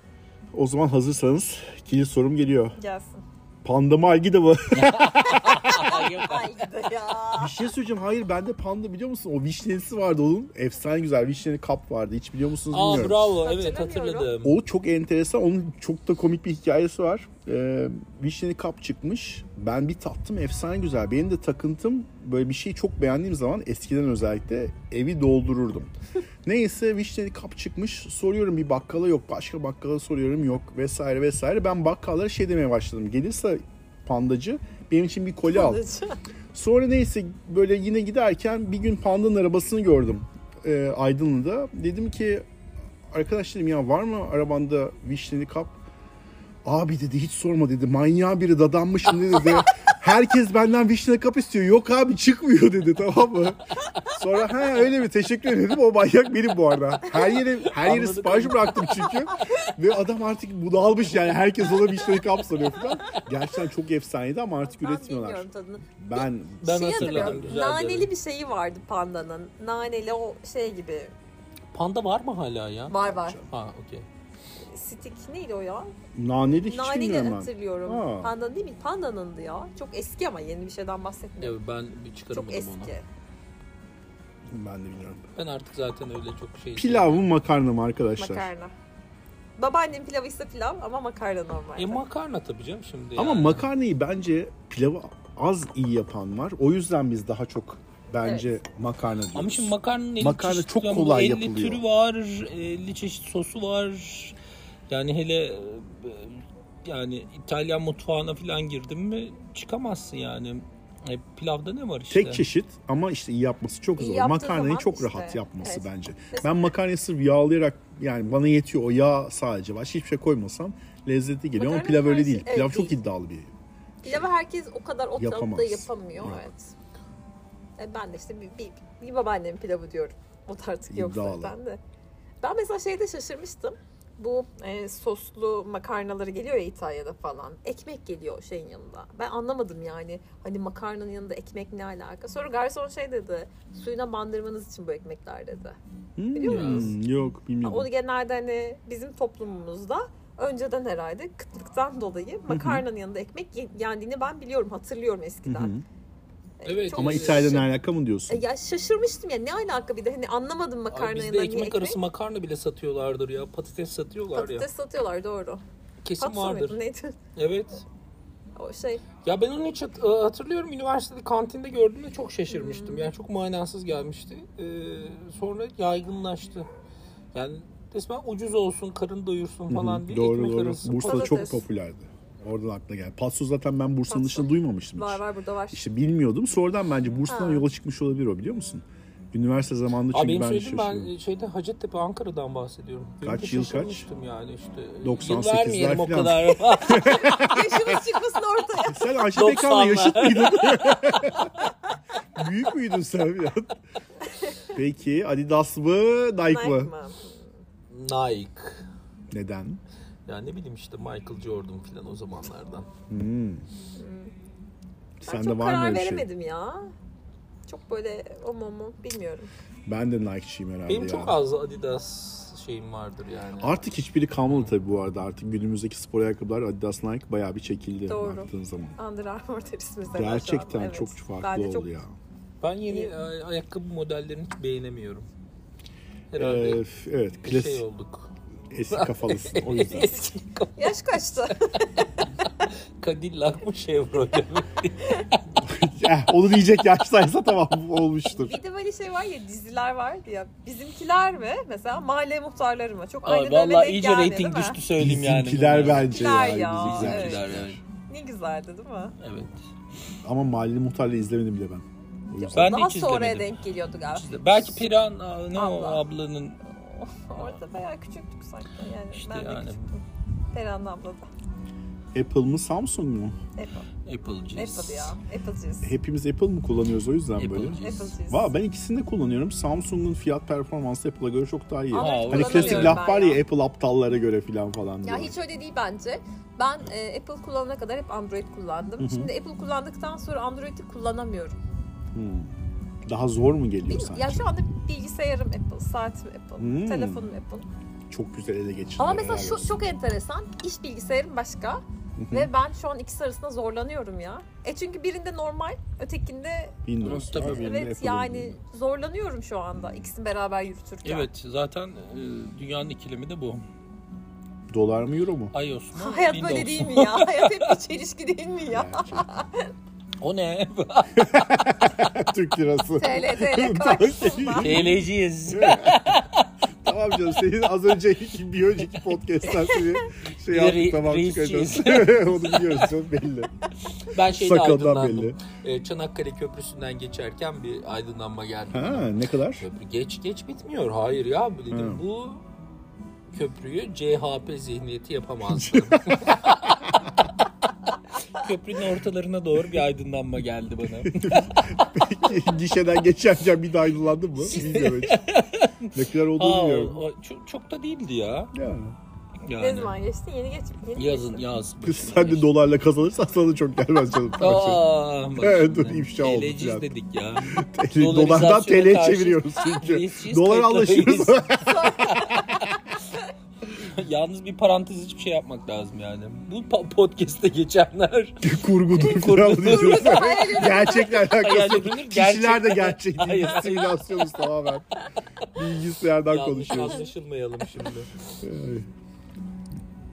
Speaker 2: o zaman hazırsanız ikinci sorum geliyor.
Speaker 1: Gelsin.
Speaker 2: Pandama Algida var.
Speaker 1: Ay ya.
Speaker 2: *laughs* Bir şey söyleyeceğim. Hayır bende panda biliyor musun? O vişnelisi vardı onun. Efsane güzel. Vişneli kap vardı. Hiç biliyor musunuz
Speaker 3: Aa
Speaker 2: bilmiyorum.
Speaker 3: bravo evet
Speaker 1: Hatırlamıyorum.
Speaker 3: hatırladım.
Speaker 2: O çok enteresan. Onun çok da komik bir hikayesi var. Ee, vişneli kap çıkmış. Ben bir tattım. Efsane güzel. Benim de takıntım böyle bir şeyi çok beğendiğim zaman eskiden özellikle evi doldururdum. Neyse vişneli kap çıkmış. Soruyorum bir bakkala yok. Başka bakkala soruyorum yok vesaire vesaire. Ben bakkallara şey demeye başladım. Gelirse pandacı benim için bir koli al. Sonra neyse böyle yine giderken bir gün Panda'nın arabasını gördüm e, Aydınlı'da. Dedim ki arkadaş dedim ya var mı arabanda vişneli kap? Abi dedi hiç sorma dedi manyağı biri dadanmışım
Speaker 3: *laughs*
Speaker 2: dedi. Herkes benden vişneli kap istiyor. Yok abi çıkmıyor dedi tamam mı? Sonra ha öyle mi teşekkür ederim o manyak benim bu arada. Her yere her yere
Speaker 3: Anladık
Speaker 2: sipariş bıraktım çünkü. Ve adam artık bunalmış yani herkes ona vişneli kap soruyor falan. Gerçekten çok efsaneydi ama artık
Speaker 1: Ben
Speaker 2: üretmiyorlar.
Speaker 1: bilmiyorum tadını.
Speaker 2: Ben
Speaker 3: Ben
Speaker 1: şey
Speaker 3: hatırladım.
Speaker 1: hatırlıyorum.
Speaker 3: Güzeldi.
Speaker 1: Naneli bir şeyi vardı pandanın. Naneli o şey gibi.
Speaker 3: Panda var mı hala ya?
Speaker 1: Var var.
Speaker 3: Ha okey.
Speaker 1: Stik neydi o ya?
Speaker 2: naneli hiç
Speaker 1: Naneli
Speaker 2: bilmiyorum ben.
Speaker 1: hatırlıyorum.
Speaker 2: Aa.
Speaker 1: Pandanın değil mi? Pandanındı ya. Çok eski ama yeni bir şeyden bahsetmiyorum.
Speaker 3: Evet ben bir çıkaramadım
Speaker 1: Çok eski.
Speaker 3: onu.
Speaker 2: Ben de bilmiyorum.
Speaker 3: Ben artık zaten öyle çok şey.
Speaker 2: Pilav mı makarna mı arkadaşlar?
Speaker 1: Makarna. Babaannem pilavı ise pilav ama makarna normal.
Speaker 3: E makarna tabii canım şimdi.
Speaker 2: Ama
Speaker 3: yani.
Speaker 2: makarnayı bence pilavı az iyi yapan var. O yüzden biz daha çok bence makarna diyoruz.
Speaker 3: Ama şimdi makarnanın 50
Speaker 2: Makarna
Speaker 3: çeşit
Speaker 2: çok
Speaker 3: yani
Speaker 2: kolay
Speaker 3: 50
Speaker 2: yapılıyor.
Speaker 3: türü var, 50 çeşit sosu var. Yani hele e, yani İtalyan mutfağına falan girdin mi çıkamazsın yani. E, pilavda ne var işte?
Speaker 2: Tek çeşit ama işte iyi yapması çok
Speaker 1: İyi
Speaker 2: zor.
Speaker 1: yaptığı
Speaker 2: Makarnayı
Speaker 1: zaman
Speaker 2: çok
Speaker 1: işte,
Speaker 2: rahat yapması
Speaker 1: evet.
Speaker 2: bence.
Speaker 1: Mesela-
Speaker 2: Ben makarnayı sırf yağlayarak yani bana yetiyor o yağ sadece var. Hiçbir şey koymasam lezzetli geliyor ama
Speaker 1: Makarna
Speaker 2: pilav öyle
Speaker 1: karşı-
Speaker 2: değil.
Speaker 1: evet,
Speaker 2: Pilav çok
Speaker 1: değil.
Speaker 2: iddialı bir
Speaker 1: Pilavı herkes o kadar o
Speaker 2: Şey- Yapamaz.
Speaker 1: tadda yapamıyor.
Speaker 2: Yok.
Speaker 1: Evet. E ben de işte bir, bir, bir babaannemin pilavı diyorum. O da artık yok
Speaker 2: İddialı.
Speaker 1: zaten de. Ben mesela şeyde şaşırmıştım. Bu e, soslu makarnaları geliyor ya İtalya'da falan. Ekmek geliyor şeyin yanında. Ben anlamadım yani. Hani makarnanın yanında ekmek ne alaka? Sonra garson şey dedi. Suyuna bandırmanız için bu ekmekler dedi. Biliyor
Speaker 2: Hmm,
Speaker 1: musunuz?
Speaker 2: Yok
Speaker 1: Ha, O
Speaker 2: bilmiyorum.
Speaker 1: genelde hani bizim toplumumuzda önceden herhalde kıtlıktan dolayı makarnanın yanında ekmek ye- yendiğini ben biliyorum, hatırlıyorum eskiden.
Speaker 2: Hı hı.
Speaker 1: E,
Speaker 3: Evet.
Speaker 1: çok
Speaker 2: Ama
Speaker 1: şaş-
Speaker 2: İtalya'dan alaka mı diyorsun?
Speaker 1: E, Ya şaşırmıştım ya ne alaka bir de hani anlamadım
Speaker 3: Ay,
Speaker 1: makarnanın
Speaker 3: bizde
Speaker 1: yanında niye
Speaker 3: ekmek
Speaker 1: ekmek.
Speaker 3: arası makarna bile satıyorlardır ya. Patates satıyorlar ya.
Speaker 1: Patates satıyorlar doğru.
Speaker 3: Kesin
Speaker 1: Patso
Speaker 3: vardır.
Speaker 1: muydu, neydi?
Speaker 3: Evet.
Speaker 1: O şey
Speaker 3: Ya ben onu hiç hat- e, hatırlıyorum üniversitede kantinde gördüğümde çok şaşırmıştım. Yani çok manasız gelmişti. Ee, sonra yaygınlaştı. Yani resmen ucuz olsun, karın doyursun falan diye
Speaker 2: Doğru
Speaker 3: ekmek
Speaker 2: doğru.
Speaker 3: arası.
Speaker 2: Bursa'da
Speaker 1: Patates.
Speaker 2: çok popülerdi. Oradan aklına geldi. Patso zaten ben Bursa'nın
Speaker 1: Patso.
Speaker 2: dışında duymamıştım
Speaker 1: var
Speaker 2: hiç.
Speaker 1: var burada var.
Speaker 2: *laughs* İşte bilmiyordum. Sonradan bence Bursa'dan
Speaker 1: Ha.
Speaker 2: yola çıkmış olabilir o biliyor musun? Üniversite zamanında
Speaker 3: Abi
Speaker 2: çünkü
Speaker 3: benim
Speaker 2: ben
Speaker 3: söylediğim
Speaker 2: şaşırıyorum.
Speaker 3: ben şeyde Hacettepe Ankara'dan bahsediyorum. Benim
Speaker 2: Kaç
Speaker 3: de
Speaker 2: yıl kaç?
Speaker 3: şaşırmıştım yani işte. Yıl
Speaker 2: 98'ler
Speaker 3: vermeyelim o
Speaker 2: falan.
Speaker 3: kadar. *laughs*
Speaker 1: Yaşımız çıkmasın
Speaker 3: e,
Speaker 1: ortaya.
Speaker 2: Sen Ayşe Pekan'la
Speaker 3: 90'lar.
Speaker 2: yaşıt
Speaker 3: *laughs*
Speaker 2: mıydın? *laughs* Büyük müydün sen ya? Peki Adidas mı Nike
Speaker 1: Nike
Speaker 2: mı?
Speaker 1: mı?
Speaker 3: Nike.
Speaker 2: Neden?
Speaker 3: Yani ne bileyim işte Michael Jordan falan o zamanlardan.
Speaker 2: Hmm.
Speaker 1: Ben
Speaker 2: Sende
Speaker 1: çok
Speaker 2: var mı
Speaker 1: karar
Speaker 2: öyle bir şey?
Speaker 1: veremedim ya. Çok böyle o mu o mu bilmiyorum.
Speaker 2: Ben de Nike'çiyim herhalde
Speaker 3: Benim
Speaker 2: ya.
Speaker 3: çok az Adidas şeyim vardır yani.
Speaker 2: Artık hiçbiri kalmadı tabii bu arada. Artık günümüzdeki spor ayakkabılar Adidas Nike bayağı bir çekildi
Speaker 1: Doğru.
Speaker 2: baktığın zaman.
Speaker 1: Under Armour tepsimiz de var şu an.
Speaker 2: Gerçekten
Speaker 1: Evet.
Speaker 2: çok farklı
Speaker 1: Bence
Speaker 2: oldu
Speaker 1: çok
Speaker 2: ya.
Speaker 3: Ben yeni
Speaker 1: İyi.
Speaker 3: e, ayakkabı modellerini hiç beğenemiyorum. Herhalde
Speaker 2: Ee, f- evet,
Speaker 3: bir
Speaker 2: klasik
Speaker 3: şey olduk.
Speaker 2: eski kafalısın o
Speaker 1: *laughs*
Speaker 2: yüzden.
Speaker 3: *laughs* Eski kap-
Speaker 1: Yaş kaçtı?
Speaker 3: Cadillac mı Chevrolet mi?
Speaker 2: Eh, onu diyecek yaştaysa tamam olmuştur.
Speaker 1: bir de böyle şey var ya diziler vardı ya. Bizimkiler ve mesela mahalle muhtarları mı? Çok
Speaker 3: Ay,
Speaker 1: aynı döneme
Speaker 3: vallahi
Speaker 1: denk
Speaker 3: iyice
Speaker 1: geldi
Speaker 3: rating
Speaker 1: değil mi?
Speaker 3: düştü söyleyeyim yani.
Speaker 2: Bizimkiler
Speaker 3: bunlar.
Speaker 2: bence
Speaker 1: Bizimkiler
Speaker 2: ya.
Speaker 1: ya,
Speaker 2: bizimkiler.
Speaker 3: Bizimkiler evet.
Speaker 1: Ne güzeldi değil mi?
Speaker 3: evet.
Speaker 2: Ama Mahalli Muhtar'la izlemedim bile ben. O yüzden.
Speaker 3: Ben de
Speaker 1: Daha
Speaker 3: hiç
Speaker 1: sonraya
Speaker 3: izlemedim.
Speaker 1: denk geliyordu galiba.
Speaker 3: İşte belki Piran aa, ne o
Speaker 1: Allah.
Speaker 3: ablanın
Speaker 1: Orada bayağı küçüktük sanki. Yani
Speaker 3: İşte
Speaker 1: ben de
Speaker 3: yani.
Speaker 1: küçüktüm. Perihan abla da.
Speaker 2: Apple mı Samsung mu?
Speaker 1: Apple.
Speaker 3: Apple'cıyız.
Speaker 1: Apple ya. Apple'cıyız.
Speaker 2: Hepimiz Apple mı kullanıyoruz o yüzden böyle?
Speaker 3: Apple'cıyız.
Speaker 1: Apple'cıyız.
Speaker 2: Valla ben ikisini de kullanıyorum. Samsung'un fiyat performansı Apple'a göre çok daha iyi.
Speaker 1: Ama
Speaker 3: Aa,
Speaker 2: hani klasik
Speaker 1: kullanamıyorum
Speaker 2: laf
Speaker 1: ben
Speaker 2: var ya Apple aptallara göre falan falan.
Speaker 1: Ya
Speaker 2: diye.
Speaker 1: hiç öyle değil bence. Ben e, Apple kullanana kadar hep Android kullandım. Şimdi Apple kullandıktan sonra Android'i kullanamıyorum.
Speaker 2: Hmm. Daha zor mu geliyor
Speaker 1: Bilmiyorum.
Speaker 2: sanki?
Speaker 1: Ya şu anda bilgisayarım Apple, saatim Apple,
Speaker 2: Hmm.
Speaker 1: telefonum Apple.
Speaker 3: Ee,
Speaker 2: Çok güzel ele geçirdi.
Speaker 1: Ama mesela şu çok enteresan. İş bilgisayarım başka. Ve ben şu an ikisi arasında zorlanıyorum ya. E çünkü birinde normal, ötekinde
Speaker 2: Windows
Speaker 3: Tabii.
Speaker 2: var, birinde
Speaker 1: evet
Speaker 2: Apple
Speaker 1: yani
Speaker 2: ürünü.
Speaker 1: zorlanıyorum şu anda ikisini beraber yürütürken.
Speaker 3: Evet zaten e, dünyanın ikilimi de bu.
Speaker 2: Dolar mı euro
Speaker 3: *laughs*
Speaker 2: mu?
Speaker 3: iOS mu?
Speaker 1: Hayat
Speaker 3: Windows
Speaker 1: böyle değil
Speaker 3: mu?
Speaker 1: mi
Speaker 3: *laughs*
Speaker 1: ya? Hayat hep bir çelişki değil mi ya? *laughs*
Speaker 3: O ne?
Speaker 2: Türk lirası. şey-
Speaker 1: TL TL
Speaker 2: *laughs*
Speaker 3: *laughs*
Speaker 1: karşısında.
Speaker 3: Şey- TL'ciyiz.
Speaker 2: tamam canım senin az önceki bir önceki podcast'ten seni şey
Speaker 3: Bir de
Speaker 2: yaptık
Speaker 3: re-
Speaker 2: tamam
Speaker 3: reisçiyiz.
Speaker 2: çıkacağız. *laughs* Onu biliyoruz çok belli.
Speaker 3: Ben şeyde
Speaker 2: Sakaldan
Speaker 3: aydınlandım. E, Çanakkale Köprüsü'nden geçerken bir aydınlanma geldi.
Speaker 2: Ha ne kadar?
Speaker 3: Köprü geç geç bitmiyor. Hayır ya bu dedim
Speaker 2: Ha.
Speaker 3: bu köprüyü CHP
Speaker 2: *laughs*
Speaker 3: zihniyeti yapamazdı. Köprünün ortalarına doğru bir aydınlanma geldi
Speaker 2: *laughs*
Speaker 3: bana.
Speaker 2: *laughs* Gişeden geçerken bir de aydınlandın mı? Bilmiyorum hiç. Ne kadar olduğunu
Speaker 3: Aa,
Speaker 2: bilmiyorum.
Speaker 3: o- çok, çok da değildi ya.
Speaker 2: Yani.
Speaker 1: Ne
Speaker 3: Yani.
Speaker 1: zaman geçti? Yeni geçti. Yeni
Speaker 3: Yazın yaz.
Speaker 2: Kız sen de dolarla kazanırsan sana da çok gelmez canım.
Speaker 3: Aa, bak
Speaker 2: Evet, *laughs*
Speaker 3: şimdi.
Speaker 2: dur, ifşa oldu
Speaker 3: TL'ciyiz
Speaker 2: biraz.
Speaker 3: dedik
Speaker 2: *laughs*
Speaker 3: ya.
Speaker 2: Dolardan
Speaker 3: Dolarizasyona
Speaker 2: TL'ye
Speaker 3: karşı
Speaker 2: çeviriyoruz çünkü.
Speaker 3: reisçiyiz,
Speaker 2: Dolar
Speaker 3: kayıtlarıyız.
Speaker 2: anlaşıyoruz.
Speaker 3: *laughs* Yalnız bir parantez hiçbir şey yapmak lazım yani. Bu pa- podcast'te geçenler
Speaker 1: *laughs*
Speaker 2: Kurgudur
Speaker 3: Kurgudur.
Speaker 2: falan diyoruz. Gerçekle
Speaker 3: Hayal
Speaker 2: alakası yok.
Speaker 3: edilir,
Speaker 2: Kişiler de
Speaker 3: gerçek.
Speaker 2: gerçek değil.
Speaker 3: Hayır.
Speaker 2: Biz simülasyonuz tamamen. Bilgisayardan
Speaker 3: yanlış
Speaker 2: konuşuyoruz.
Speaker 3: anlaşılmayalım
Speaker 2: *laughs*
Speaker 3: şimdi.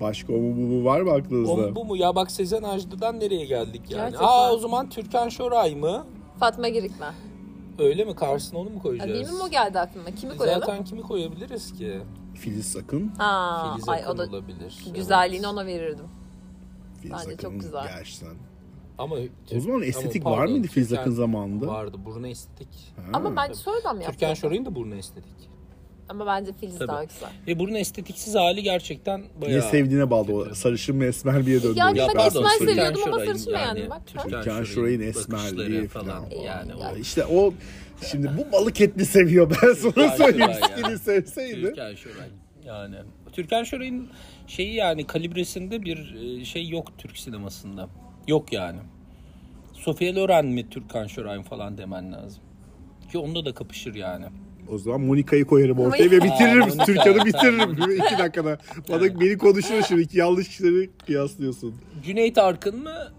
Speaker 2: Başka o mu bu mu var mı
Speaker 3: O
Speaker 2: aklınızda?
Speaker 3: mu bu mu? Ya bak Sezen Ajdı'dan nereye geldik yani?
Speaker 1: Gerçekten.
Speaker 3: Aa o zaman Türkan Şoray mı?
Speaker 1: Fatma Girikme.
Speaker 3: Öyle mi? Karşısına onu mu
Speaker 1: Ya,
Speaker 3: koyacağız?
Speaker 1: Benim o geldi aklıma. Kimi koyalım?
Speaker 3: E Zaten kimi koyabiliriz ki?
Speaker 2: Filiz Sakın.
Speaker 1: Aa,
Speaker 3: Filiz
Speaker 1: ay o
Speaker 3: Akın
Speaker 1: da
Speaker 3: olabilir.
Speaker 1: güzelliğini
Speaker 3: evet.
Speaker 1: ona verirdim.
Speaker 2: Filiz
Speaker 1: Bence çok
Speaker 2: Akın'ın
Speaker 1: güzel.
Speaker 2: Gerçekten.
Speaker 3: Ama
Speaker 2: O zaman estetik
Speaker 3: Ama
Speaker 2: var
Speaker 3: pardon,
Speaker 2: mıydı Filiz
Speaker 3: Türkan
Speaker 2: Akın zamanında?
Speaker 3: Vardı. Burnu estetik.
Speaker 2: Ha.
Speaker 1: Ama ben soydan mı
Speaker 3: Hmm. Türkan
Speaker 1: yaptım?
Speaker 3: Şoray'ın da burnu estetik.
Speaker 1: Ama bence Filiz
Speaker 3: Tabii.
Speaker 1: daha güzel.
Speaker 3: Ve burun estetiksiz hali gerçekten
Speaker 2: Niye
Speaker 3: bayağı...
Speaker 2: sevdiğine bağlı o. Sarışın mı esmer diye döndü.
Speaker 1: Yani
Speaker 2: o
Speaker 1: ben
Speaker 2: iş.
Speaker 1: esmer
Speaker 2: söyleyeyim.
Speaker 1: seviyorum. seviyordum ama sarışın beğendim, bak.
Speaker 2: Türkan Şoray'ın esmerliği
Speaker 3: bakışları
Speaker 2: falan.
Speaker 3: Yani o
Speaker 2: Aa, İşte o şimdi bu balık etli seviyor ben
Speaker 3: Türkan
Speaker 2: sana söyleyeyim.
Speaker 3: Şoray ya.
Speaker 2: Skin'i sevseydi.
Speaker 3: Türkan Şoray. Yani Türkan Şoray'ın şeyi yani kalibresinde bir e, şey yok Türk sinemasında. Yok yani. Sofia Loren mi Türkan Şoray mı falan demen lazım. Ki onda da kapışır yani.
Speaker 2: O zaman Monika'yı koyarım ortaya ve
Speaker 3: Aa,
Speaker 2: bitiririm.
Speaker 3: Monika,
Speaker 2: Türkan'ı
Speaker 1: *laughs*
Speaker 3: tamam.
Speaker 2: bitiririm. iki dakikada. Bana beni konuşuyor şimdi. İki yanlış kişileri kıyaslıyorsun.
Speaker 3: Cüneyt Arkın mı?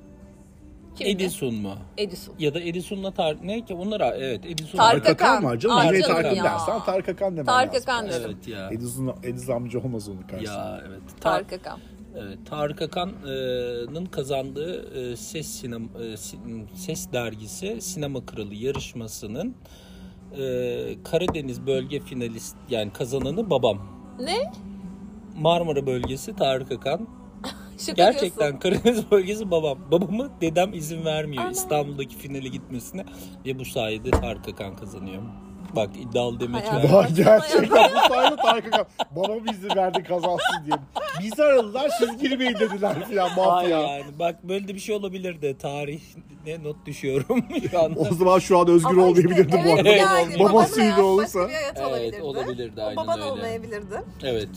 Speaker 1: Kimdi?
Speaker 3: Edison mu?
Speaker 1: Edison.
Speaker 3: Ya da Edison'la Tar ne ki onlara evet Edison
Speaker 1: Tarık-
Speaker 2: Tarık Akan
Speaker 1: Akan.
Speaker 2: var canım.
Speaker 1: Aa,
Speaker 2: Cüneyt
Speaker 1: canım
Speaker 2: Arkın
Speaker 1: ya.
Speaker 2: dersen Tarık Akan demen
Speaker 1: Tarık
Speaker 2: lazım.
Speaker 1: Akan derim.
Speaker 3: Evet ya.
Speaker 2: Ediz'in, Ediz amca olmaz onun karşısında.
Speaker 3: Ya evet. Tar-
Speaker 1: Tarık Akan.
Speaker 3: Evet, Tarık Akan'ın kazandığı e, ses sinem e, sin- ses dergisi Sinema Kralı yarışmasının e, Karadeniz bölge finalist yani kazananı babam.
Speaker 1: Ne?
Speaker 3: Marmara bölgesi Tarık Akan.
Speaker 1: Şaka
Speaker 3: Gerçekten *laughs*
Speaker 1: diyorsun.
Speaker 3: Karadeniz bölgesi babam. Babamı dedem izin vermiyor
Speaker 1: Ana.
Speaker 3: İstanbul'daki finale gitmesine ve bu sayede Tarık Akan kazanıyor. Bak iddialı demeç
Speaker 1: Hayal.
Speaker 3: verdim.
Speaker 2: Vay gerçekten bu sayede Tarık Akan. Babam izni verdi kazansın diye. Bizi aradılar siz girmeyin dediler filan
Speaker 3: Ay
Speaker 2: mafya.
Speaker 3: yani bak böyle de bir şey olabilir de tarih ne not düşüyorum *laughs* şu anda.
Speaker 2: O zaman şu an özgür olmayabilirdi bu
Speaker 1: evet
Speaker 2: arada.
Speaker 1: Yani,
Speaker 2: Babası
Speaker 1: babanın
Speaker 2: ünlü
Speaker 1: hayatı
Speaker 2: olursa.
Speaker 1: Başka bir hayat olabilirdi.
Speaker 3: Evet, olabilirdi,
Speaker 1: O
Speaker 3: aynen
Speaker 1: baban
Speaker 3: öyle.
Speaker 1: olmayabilirdi.
Speaker 3: Evet.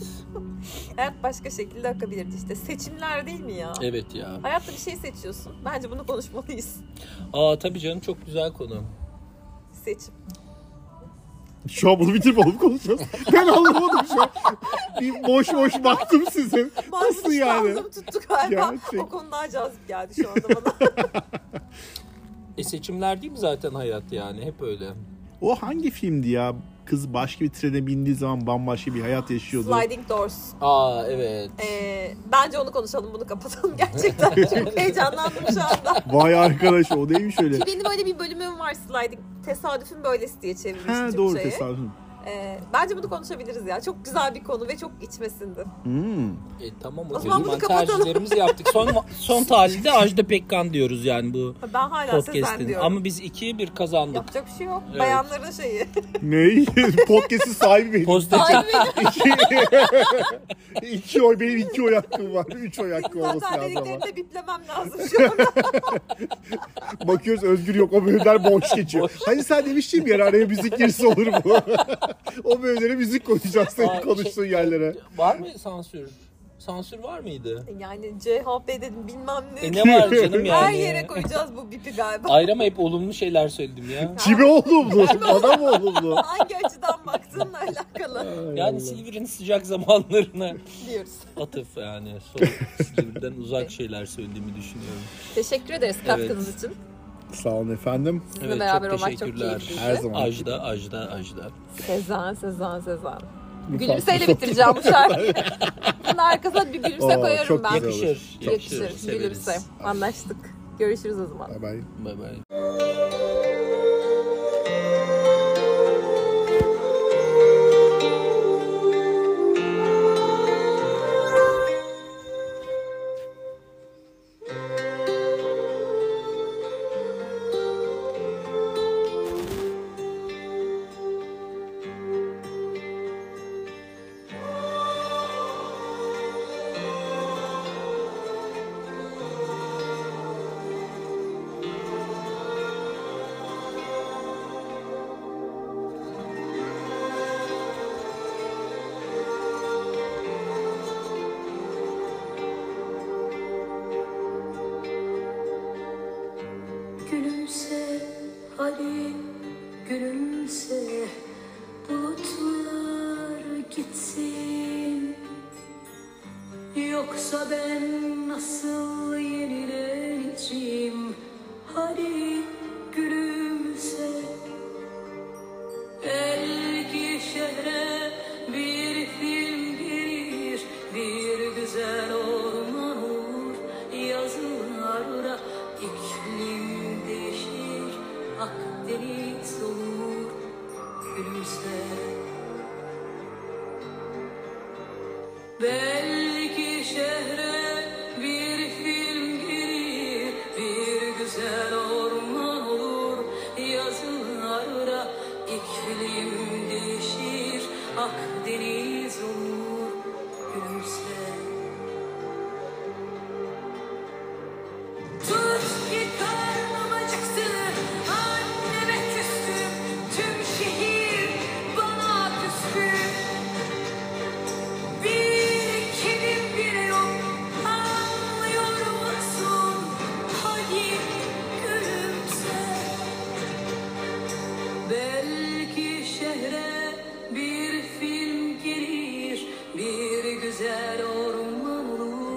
Speaker 1: Hayat başka şekilde akabilirdi işte. Seçimler değil mi ya?
Speaker 3: Evet ya.
Speaker 1: Hayatta bir şey seçiyorsun. Bence bunu konuşmalıyız.
Speaker 3: Aa tabii canım çok güzel konu.
Speaker 1: Seçim.
Speaker 2: Şu an bunu bitirip olup konuşacağız. Ben anlamadım şu an. Bir boş boş baktım size. Nasıl
Speaker 1: Bazı
Speaker 2: yani?
Speaker 1: şansım tuttu galiba.
Speaker 2: Gerçek.
Speaker 1: O konu daha cazip geldi şu anda
Speaker 2: *laughs*
Speaker 1: bana.
Speaker 3: E seçimler değil mi zaten hayat yani hep öyle.
Speaker 2: O hangi filmdi ya? Kız başka bir trene bindiği zaman bambaşka bir hayat yaşıyordu.
Speaker 1: Sliding Doors.
Speaker 3: Aa evet.
Speaker 1: Ee, bence onu konuşalım, bunu kapatalım *laughs* gerçekten. Çok
Speaker 2: *laughs*
Speaker 1: heyecanlandım şu anda.
Speaker 2: Vay arkadaş o neymiş öyle?
Speaker 1: Ki benim öyle bir bölümüm var sliding. Tesadüfün böylesi diye çevirmiş
Speaker 2: Ha doğru
Speaker 1: Türkçe'ye.
Speaker 2: tesadüf.
Speaker 1: Ee, bence bunu konuşabiliriz ya. Çok güzel bir konu ve çok içmesinde.
Speaker 2: Hmm.
Speaker 3: E tamam
Speaker 1: O
Speaker 3: o
Speaker 1: zaman
Speaker 3: zaman,
Speaker 1: bunu kapatalım.
Speaker 3: tercihlerimizi yaptık. Son
Speaker 1: *laughs*
Speaker 3: son talihde Ajda Pekkan diyoruz yani bu
Speaker 1: Ben hala Sezen
Speaker 3: podcast'in.
Speaker 1: diyorum.
Speaker 3: Ama biz ikiye bir kazandık.
Speaker 1: Yapacak bir şey yok.
Speaker 3: Evet.
Speaker 1: Bayanların şeyi.
Speaker 2: Ney? *laughs* Podcast'in sahibi benim.
Speaker 3: Pozitif
Speaker 1: Ay benim
Speaker 2: İki, iki oy benim iki oy hakkım var. Üç oy hakkım olması
Speaker 1: zaten
Speaker 2: lazım ama.
Speaker 1: dediklerini de biplemem lazım şu an. *laughs*
Speaker 2: Bakıyoruz Özgür yok o bölümler boş geçiyor. Hani sen demiştin ya araya müzik girse olur
Speaker 3: *laughs*
Speaker 2: mu? *laughs* o bölümlere müzik koyacağız senin
Speaker 3: Aa,
Speaker 2: konuştuğun
Speaker 3: şey-
Speaker 2: yerlere.
Speaker 3: var mı sansür? Sansür var mıydı?
Speaker 1: Yani CHP dedim bilmem ne. *laughs*
Speaker 3: E ne var canım yani?
Speaker 1: Her yere koyacağız bu bipi
Speaker 3: *laughs*
Speaker 1: galiba. *laughs*
Speaker 3: Ayrı ama hep olumlu şeyler söyledim ya.
Speaker 2: Kime olumlu? Bana mı olumlu?
Speaker 1: Hangi açıdan baksan. yaptığınla alakalı
Speaker 3: Yani Silivri'nin sıcak zamanlarına
Speaker 1: diyoruz.
Speaker 3: atıf yani. Soğuk Silivri'den uzak şeyler söylediğimi düşünüyorum.
Speaker 1: Teşekkür ederiz katkınız için.
Speaker 2: Sağ olun efendim.
Speaker 1: Sizinle beraber olmak çok keyifliydi.
Speaker 2: Her zaman.
Speaker 3: Ajda, Ajda, Ajda.
Speaker 1: Sezen, Sezen, Sezen.
Speaker 2: farklı
Speaker 1: Gülümseyle
Speaker 2: sohbet.
Speaker 1: bitireceğim bu şarkıyı. Bunun arkasına bir gülümse
Speaker 2: Oo,
Speaker 1: koyarım
Speaker 2: çok
Speaker 1: ben.
Speaker 2: güzel olur.
Speaker 3: Yakışır, yakışır.
Speaker 1: Yakışır,
Speaker 3: severiz.
Speaker 1: gülümse. Anlaştık. Görüşürüz o zaman.
Speaker 2: Bay bay.
Speaker 3: Bay bay.
Speaker 4: Gülümse Ali gülümse Bulutlar gitsin Yoksa ben nasıl yenileneceğim Hadi gülümse Belki şehre bir film gelir, bir güzel orman olur. Yazılarda iklim değişir, Akdeniz olur. Gülümse. Belki şehre bir film gelir, bir güzel orman olur. Yazılarda iklim değişir, Akdeniz olur. Gülümse. Tut ki karnım acıktı, anneme küstüm, tüm şehir bana küstü. Bir kimim bile yok, anlıyor musun? Hadi gülümse. Belki şehre bir film gelir, bir güzel orman olur.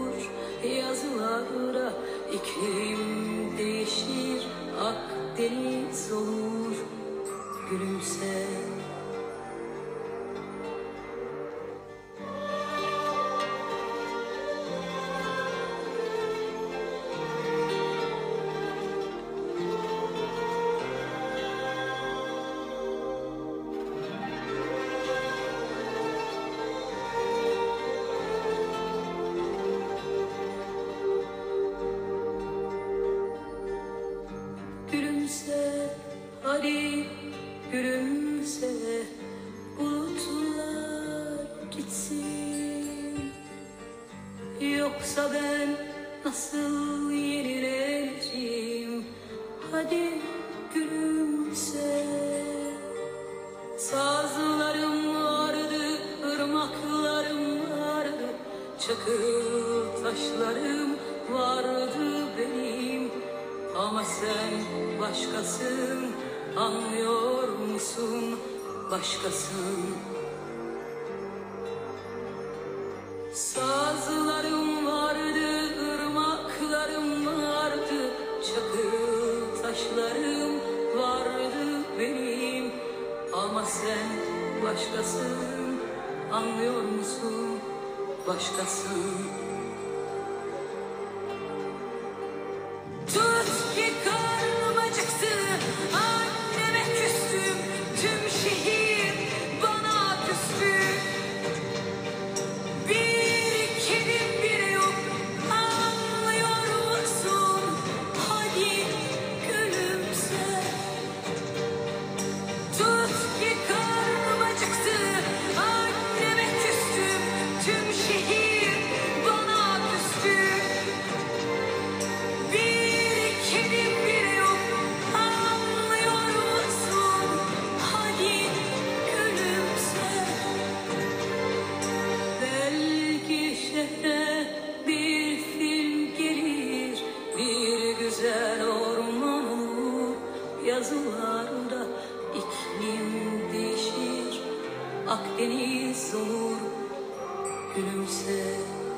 Speaker 4: Yazılarda iklim değişir, Akdeniz olur. Gülümse. Gülümse hadi gülümse bulutlar gitsin Yoksa ben nasıl yenileceğim Hadi gülümse Sazlarım vardı, ırmaklarım vardı Çakıl taşlarım vardı benim Ama sen başkasın, anlıyor musun? Başkasın Sazlarım vardı, ırmaklarım vardı, çakıl taşlarım vardı benim. Ama sen başkasın, anlıyor musun? Başkasın. Tut ki karnım acıktı, anneme küstüm, tüm şehir bana küstü. Bir kelim bile yok, anlıyor musun? Hadi gülümse. Tut ki karnım acıktı, anneme küstüm, tüm şehir bana kimse